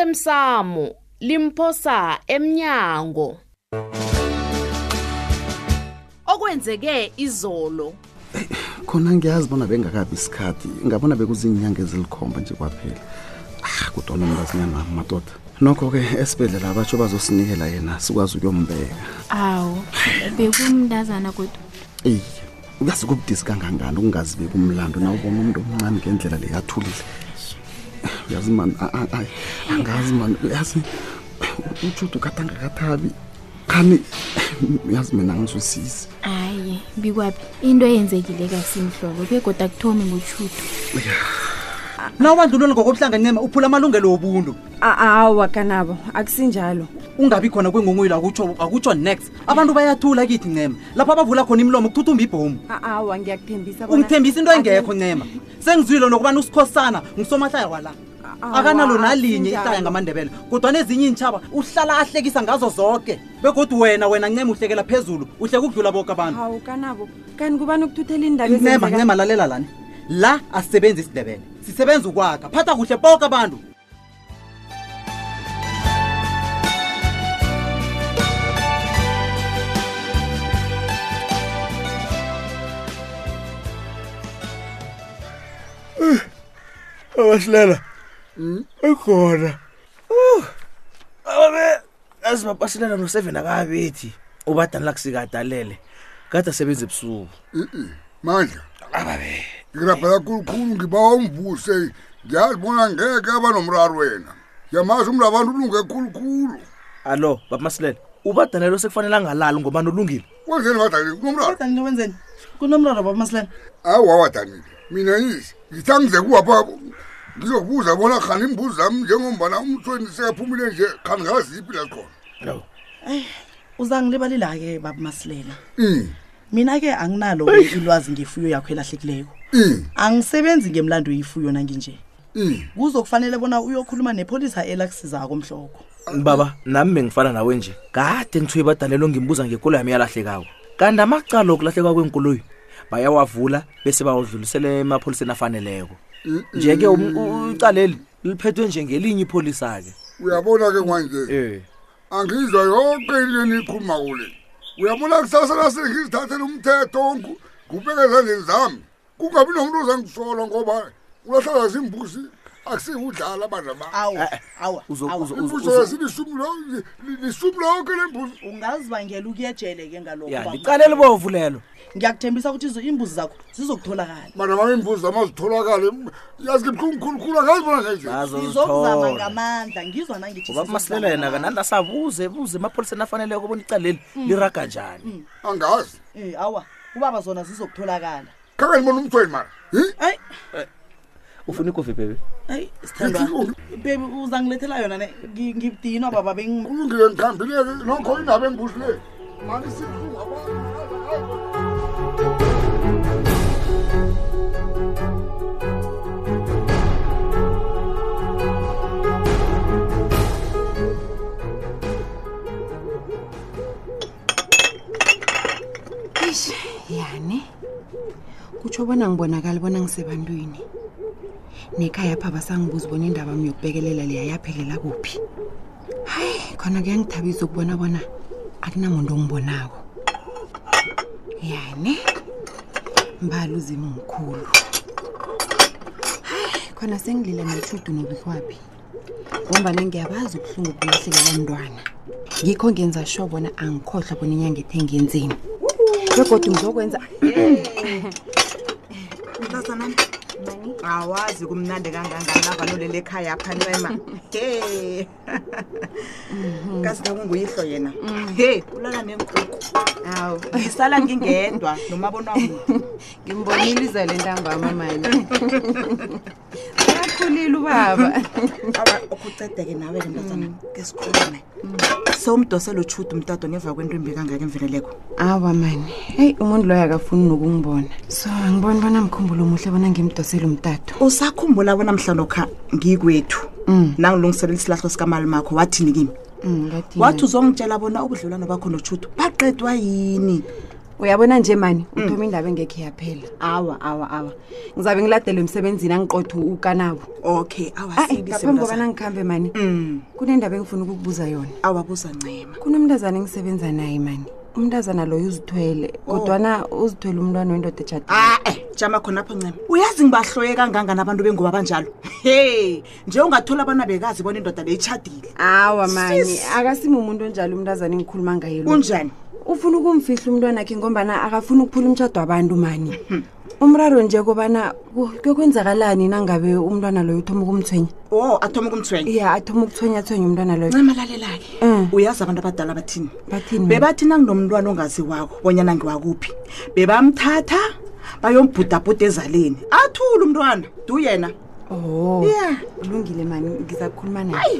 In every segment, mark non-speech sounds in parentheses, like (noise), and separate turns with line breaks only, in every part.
osemsamo limphosa emnyango okwenzeke izolo
khona ngiyazi bona bengakabi isikhathi ngabona bekuziinyanga ezilikhomba nje kwaphela ah kudona umntazinyana wami madoda nokho-ke esibhedlela abatsho bazosinikela yena sikwazi ukuyombeka
awu bekumntazana kodwa
iye uyazi kubudisi kangangani ukungazi bekumlando na ubona umuntu omncane ngendlela leyathulile uyazi mani a- a- a- angazi mani uyazi utshuda ukade angakathabi khani uyazi mina angisosizi
hayi bikwaphi into eyenzekile kasimhlolo begoda kuthomi ngotshuthu
na ubandlululo ngokobuhlanganema uphula amalungelo wobuntu
A- awa kanabo akusinjalo
ungabi khona kwengongoyilo akutsho akutsho Oh, next abantu bayathula kithi ncema lapho abavula khona imlomo kuthuthumba ibhomu
A- awa ngiyakuthembisa bona-
ungithembisa into engekho ncema sengizwile nokubana usikhosana ngusomahlaya wala
Awa,
akanalo nalinye ihlaya
akunjalo.
ngamandebele kodwa nezinye iintshaba uhlala ahlekisa ngazo zonke begodwa wena wena ncema uhlekela phezulu uhleka ukudlula boke abantu
hawu kanabo kani kubani ukuthuthela indaba
ncema
ezenzeka-
ncema lalela lani la asisebenzi isidebele sisebenza ukwakha phatha kuhle boke abantu
abasilela ekhona abe azi bapasilela no-seven akabethi ubadanela kusikadalele kade asebenza ebusuku
mandla ngirabhela khulukhulu ngibawa umvuse ngiyazi bona ngeke aba nomraro wena yamazi umntu abantu ulunge khulukhulu
allo bapasilela ubadanelo sekufanele angalali ngobani ulungile
wenzeni wadanile kunomraro
danile wenzeni kunomraro babamasilela
awa wadanile mina yisi ngithangize kuwapha ngizokubuza bona khani imbuzi zami njengombana umthweni sekaphumile nje khani ngaziphi la zikhona
no
uzangilibalila-ke baba masilela
Mm,
mina-ke anginalo-ke ilwazi ngefuyo yakho elahlekileko
mm,
angisebenzi ngemlando yifuyo nanginje
mm.
kuzokufanele bona uyokhuluma nepholisa elakusizako mhloko
baba nami bengifana nawe nje kade ngithiwe ibadanelo ngimbuza ngekolo yami yalahlekako kanti amacala okulahlekwa kwenkoloyi bayawavula bese bawudlulisele emapholiseni afaneleko nje-ke um- u- icaleli liphethwe njengelinye ipholisa-ke
uyabona-ke kwanje
Eh.
angizwa yonke into eniyikhuluma kule uyabona kusasa nasengizithathela umthetho onke ngubeke ezandleni zami kungabi nomuntu ozangisola ngoba ulahlala zimbuzi akusikudlala bandla ba
awa awa
Eh, Uzo-
awa.
uzo-
imbuzi yazilisumi lonke lembuzi
ungazibangela ukuyejele-ke
ya
ngalokho
liqaleli bovu lelo
ngiyakuthembisa ukuthi izo- iimbuzi zakho zizokutholakala
mana mama imbuzi zami azitholakale yazi ngibuhlungu khulukhulu angazibona ngendlela
zizokuzama
bazozithola
ngamandla ngizwa nangithi
ngoba masilela yena kananda sabuze buze emapholiseni afaneleko bona icaleli liraga njani
angazi
um awa ubaba zona zizokutholakala
khanga ndibona umthweni mara Hi?
ayi
Eh. ufuna ikofi bebe
ayi sithandwa bebi uzangilethela yona ne Ngi- ngidinwa baba bengi
kulungile ngihambile-ke nokho indaba embuzi le manisibuhlungu abantu
Eish, yani kutsho bona ngibonakali bona ngisebantwini nekhaya pha basangibuza bona indaba mi yokubekelela leya yaphelela kuphi hayi khona kuyangithabisa ukubona bona akunamuntu ongibonako yani mbali uzima mkhulu hayi khona sengilila notshudu nobikwaphi ngombane ngiyabazi ubuhlungu bokulahlekelwa mntwana ngikho ngenza sho bona angikhohlwa bona inyanga ethe ngenzeni begodwa ngizokwenza
mntazanami awazi kumnandi kangangani avalolele ekhaya phancema he kazi kakunguyihlo yena he ulala nenkuku
awu
ngisala ngingedwa nomabona kude
ngimbonile iza le ntambama mani uyakhulile ubaba
okucedeke nawe-ke mntazana ke sikhulume sowumdosela utshuda umtado neva kwentombi kangaka emveleleko
awa mani heyi umuntu loyo akafuni nokungibona so angiboni bona mkhumbulo omuhle bona ngimdosele umtato
usakhumbula bona mhlanokha ngikwethu
Mm.
nangilungiselela isilahlo sikamalumakho wathini kimi
Mm, ngathi-
wathi uzongitshela bona ubudlelwano bakho notshudu baqedwa yini
uyabona nje mani uthoma indaba engekhe yaphela Mm. awa awa awa ngizabe ngiladelwe emsebenzini angiqotha ukanabo
okay
Ayi,
awasibi
ngaphambi kobana
semntazana.
ngikhambe mani
Mm,
kunendaba engifuna ukukubuza yona
awabuza ncema
kunomntazana engisebenza naye mani umntazana loyo uzithwele kodwana uzithwele umntwana wendoda ejadile
ae Ah, eh, jama khonapho ncema uyazi ngibahloye kangangani abantu bengoba banjalo he nje ungathola abana bekazi bona indoda beyitshadile
awa mani
Sis.
akasimi umuntu onjalo umntazana engikhuluma ngaye lo
kunjani
ufuna ukumfihla umntwana khe ngombana akafuni ukuphula umtshado wabantu mani umraro nje kobana ku- kuyokwenzakalani nangabe umntwana loyo uthoma ukumthwenya
o Oh, athoma ukumthwenya
ya athoma ukuthwenyathwenya umntwana loyo
ncema lalela-ke
Mm.
uyazi abantu abadala bathini
bathini mani?
bebathi nanginomntwana ongaziwako bonyana ngiwakuphi bebamthatha bayombhudabhuda ezaleni athule umntwana du yena
oh
ya
kulungile mani ngizakukhuluma naye
Ayi,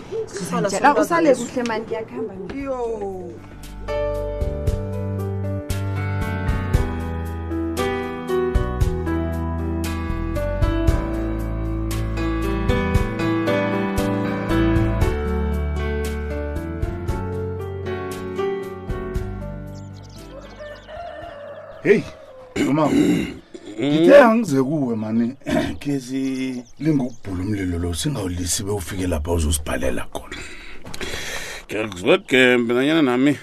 sala
Ngizamtjela.
somntazana
usale
leso.
kuhle mani ngiyakuhamba mina.
yo
heyi noma ngithe angize kuwe mani (clears throat) khe silinga ukubhula umlilo lo singawulisi bewufike lapha uzosibhalela khona
ngiyakuzwegembe nanyana nami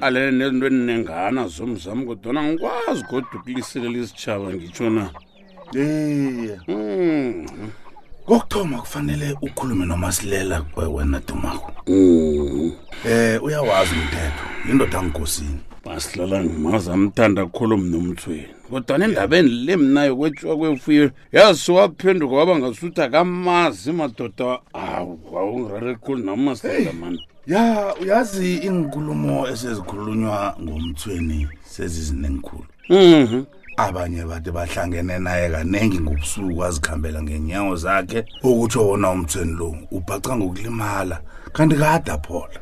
qalele nezinto eninengana zomzami kodwana ngikwazi kodwa ukuliselela isitshaba ngitsho na
ey
Mm.
kokuthoma kufanele ukhulume nomasilela we- wena dumako
Mm.
um uyawazi umthetho yindoda angigosini
basilala ngimaza amthanda kukhulu mnomthweni kodwana endabeni le mnayo kwetshiwa kwemfuyo yasiwaphenduka waba ngasutha kamazi madoda awu awungirare khulu nam masilela mani
ya uyazi iinkulumo esezikhulunywa ngomthweni sezizinengikhulu
Mhm.
abanye bathi bahlangene naye kanengi ngobusuku azikhambela ngenyawo zakhe ukutsho wona umthweni lo ubhaca ngokulimala kanti kade aphola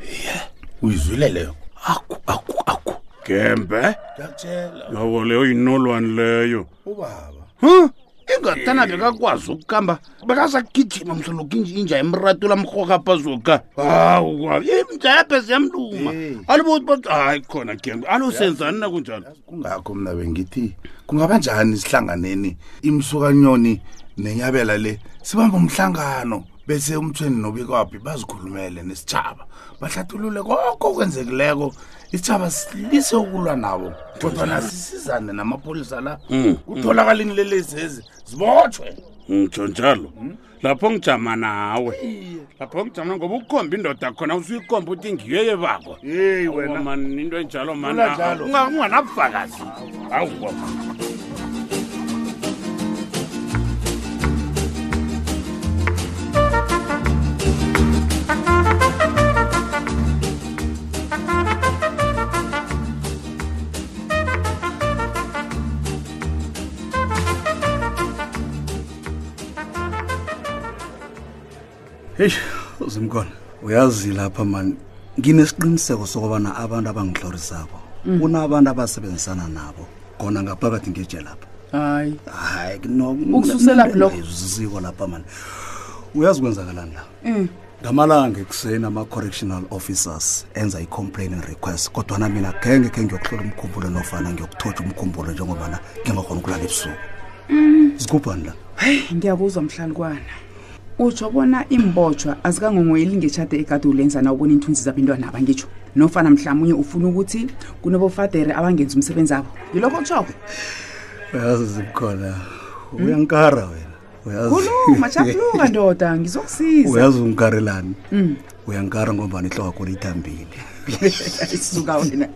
ye uyizwile leyo aku aku aku
gembe
ngiyakutshela
yawo leyo yinolwani leyo
ubaba
Huh? ingatana bekakwazi ukukamba bekasagijima mhloloku inja emratula mrhorhapazoka hawu injayaphe ziyamluma
Hey.
alibothi bathi hayi khona gembe alusenzani nakunjalo
kungakho mna bengithi kungaba njani sihlanganeni imsukanyoni nenyabela le sibambe umhlangano bese umthweni nobikwaphi bazikhulumele nesitshaba bahlathulule konke okwenzekileko isitshaba silise ukulwa nabo kodwana sisizane namapholisa la
Mm.
kutholakala inilelezezi zibotshwe
ngitsho njalo
Hmm?
lapho ngijama nawe lapho ngijama nawe ngoba ukukhomba indoda khona usuyikhomba ukuthi ngiyo yebakwa
yeyi
Awa man into enjalo man,
Kula
ah,
njalo.
unga- unganabufakazi hawu baba.
heyi uzimkona uyazi lapha mani nginesiqiniseko sokubana abantu abangihlorisako kunabantu abasebenzisana nabo khona ngaphakathi ngeje lapha
hayi
hayi
Ukususelaphi lokho?
ziko lapha mani uyazi kwenzakalani la ngamalanga ekuseni ama-correctional officers enza i-complaining request kodwana mina genge khe ngiyokuhlola umkhumbulo nofana ngiyokuthotsha umkhumbulo njengobana ngingakhona ukulala ebusuku zikubhani la
heyi ngiyakuzwa mhlalukwana utsho bona imbotshwa azikangongoyeli ngetshade ekade ulenza na ubona iinthunzi zabentwana abangitsho nofana mhlawumunye ufuna ukuthi kunobofadere abangenzi umsebenzi abo ngilokho kutshoko
uyazi zimkhona uyankara wena uyazi
khuluma shakuluka ndoda ngizokusiza
(laughs) uyazi ungikarelani
Mm.
uyankara ngombani ihloko yakho lithambile
suka wena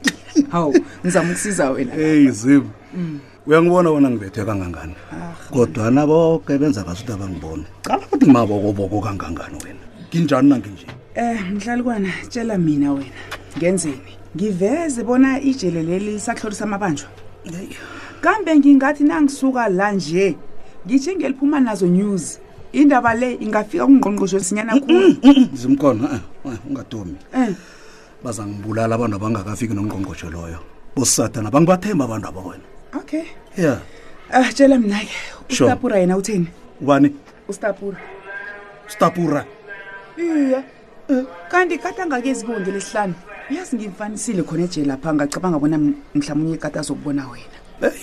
hawu ngizama ukusiza wena
eyi zim
Mm.
uyangibona wona ngibethwe kangangani
Ah.
kodwana boke benza ngasuthi abangibona cala ukuthi ngimabokoboko kangangani wena nginjani nanginje
um mhlalukwana tshela mina wena ngenzeni ngiveze bona ijele leli lisahlorisa amabanjwa kambe ngingathi nangisuka la nje ngitshe ngeliphuma nazo news indaba le ingafika kungqongqosho sinyana khulu
zimkhona eh, eh, ungatomi
um
bazangibulala abantu abangakafiki nomngqongqoshe loyo bosathana bangibathemba abantu aba wena
okay
ya
um tshela mina-ke
Sure.
ustapura yena utheni
ubani
ustapura
stapura
iye kanti kade angakezi bonge lesihlanu uyazi ngimfanisile khona ejele lapha ngacabanga bona mhlawumunye ikata azokubona wena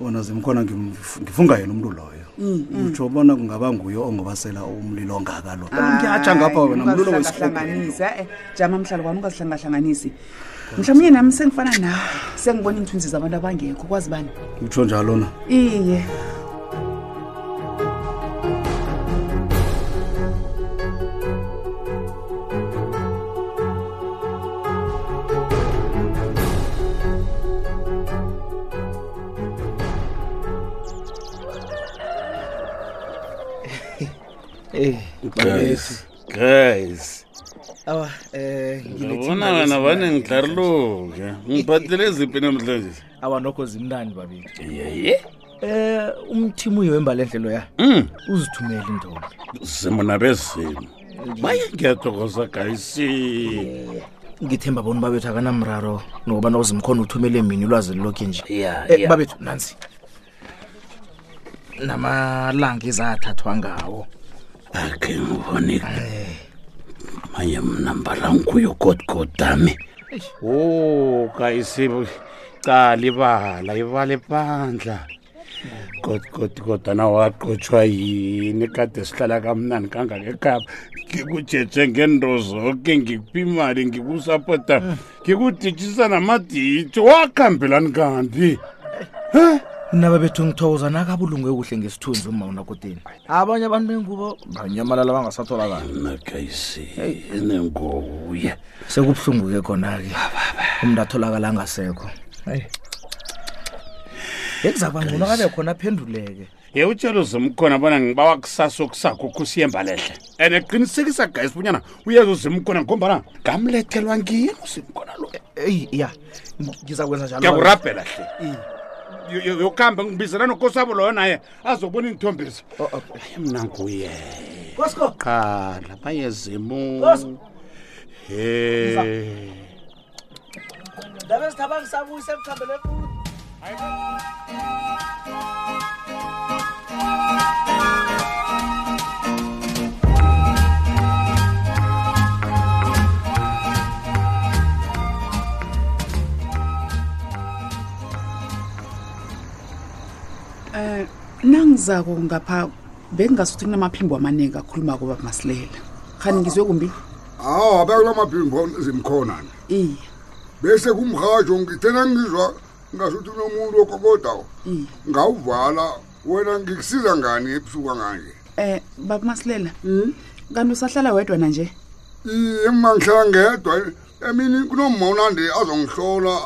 wona zimkhona ngimf- ngifunga yena umntu loyo utsho bona kungaba nguye ongobasela umlilo ongaka lo ngiyatsha ngapha wena mlilo wesihloko
wesihlangahlanganisa e-e Eh, jama mhlalo wami ungazihlangahlanganisi mhlawumnye nami sengifana nawe sengibona iinthunzi zabantu abangekho kwazi bani
utsho njalo na
iye
guys guys
awa um
ngabona wena vane ngidlariluke ngiphathele ziphi namhlanje
awa nokho zimnandi babili
yeye Mm.
eh umthimuyo wembalenhle loya uzithumele intombi
zimo nabezimo maye ngiyathokoza gayisi
ngithemba bona babethu akanamraro nokubana uzimkhona uthumele mina ulwazi lilokhu nje
Ya,
Eh,
ya.
babethu nansi namalanga ezathathwa ngawo
akhe ngibone maye mna mbala nguyogodgodami o gayisi cala ibala ibala epandla godgod kodwana waqotshwa yini kade sihlala kamnani kangakekapa ngikujeje ngento zoke ngikuphi imali ngikusapota ngikuditshisa namaditshi wakhambelani kambi
mina babethu ngithokoza nakabulungwe kuhle ngesithunzi uma unakoteni abanye abantu bengubo banyamalala bangasatholakala
nengokuya
sekubuhlungu-ke khona-ke umntu atholakala angasekho ekuza kwangcono kabe khona aphenduleke
ye utshelo zimkhona bona ngibawa kusasa okusakho kusiyemba lehle and qinisekisa guys bunyana uyeza uzimkhona ngombana ngamlethelwa ngiyini uzimkhona lo
eyi ya ngiza kwenza njalo
ngiyakurabhela
Mm.
hle Yo- yo- yokuhamba ngibizela nokosabo loyo naye azobona iinthombezi mna nguye
Oh, Kosko.
qala bayezimu
Kosko.
he
ndabe sithaba ngisabuyise emthambele
um nangizako ngapha bekungasuthi kunamaphimbo amaningi akhuluma kubaba masilela khani ngizwe kumbi
hawa abekula mabhimbo zimkhonani
iye
bese kumrhatsho ngithena ngizwa ngasuthi kunomuntu okokodawo
iye
ngawuvala wena ngikusiza ngani ebusuku anganje
um baba masilela kanti usahlala wedwa na nje
iye ma ngihlala ngedwa emini kunomma unande azongihlola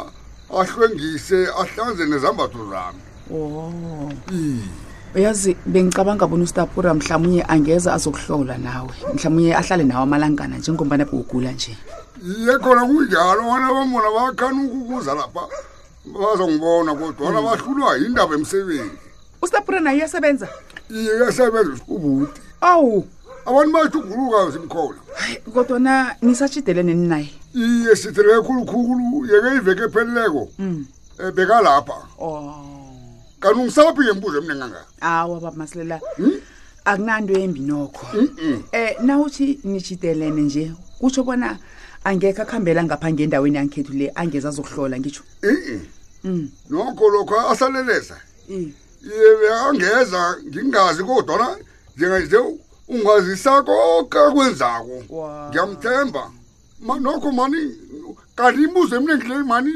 ahlwengise ahlanze nezambatho zami
o uyazi bengicabanga bona ustapura mhlawumunye angeza azokuhlola nawe mhlawumunye ahlale nawe amalangana njengombana bewugula nje
iye khona kunjalo wena bambona bakhani ukukuza lapha bazongibona kodwana
Hmm.
bahlulwa yindaba emsebenzi
ustapura naye uyasebenza
iye uyasebenza ubuti
owu
abantu bayajuguluka zimkhona
kodwana nisatshidelene ninaye
iye sitheleke khulukhulu yeke iveke ephelileko eh, bekalapha kanti ungisaphi ngembuzo emine nganga
awa baba masilela akunanto embi nokho um nawuthi nitshidelene nje kutsho bona angekho akuhambela ngapha ngendaweni yangikhethu le angeza azokuhlola ngitsho
i-i nokho lokho asaleleza
iye
angeza ngingazi kodwana njenganje ungazisa konke akwenzako ngiyamthemba Ma- nokho mani kanti imbuzo emine ngileli mani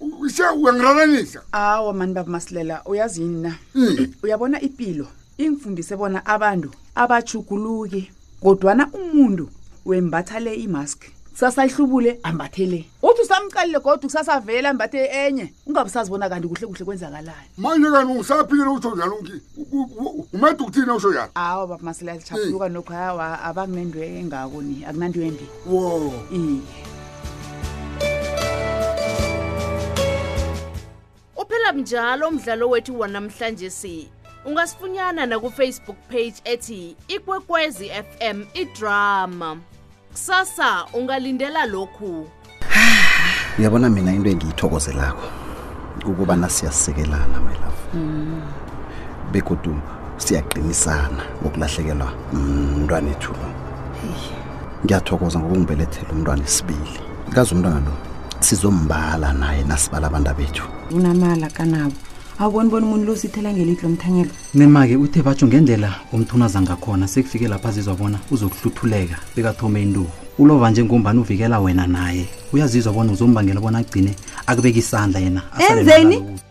u- ise uyangilalanisa
awa mani baba masilela uyazi yini na
Mm.
uyabona ipilo ingifundise bona abantu abajuguluki kodwana umuntu wembatha le imaski sasayihlubule ambathele uthi usamcalile kodwa kusasa vele ambathe enye ungabusazibona kanti kuhle kuhle kwenzakalani
manje kanti ungisaphile utsho njalo ngi- u- u- umeda ukuthini usho njalo
awa baba masilela lishapuluka nokho awa abakunento engako ni akunanto embi
wo
iye
Uphela njalo umdlalo wethu wanamhlanje si. Ungasifunyana na ku Facebook page ethi Ikwekwezi FM iDrama. Kusasa ungalindela lokhu.
uyabona mina into engiyithokozelako ukubana siyasikelana my love
Hmm.
begodu siyaqinisana ngokulahlekelwa mntwana ethu lo ngiyathokoza ngokungibelethela umntwana esibili kazi umntwana lo sizombala naye nasibala abantu bethu
unamala kanabo awuboni bona umuntu losithela ngelidlo mthanyelo
nema-ke uthe batsho ngendlela umthunaza ngakhona sekufike lapha azizwa bona uzokuhluthuleka bekathome intuku ulova njengombani uvikela wena naye uyazizwa bona uzombangela bona agcine akubeka isandla yena asale
enzeni
nalabo.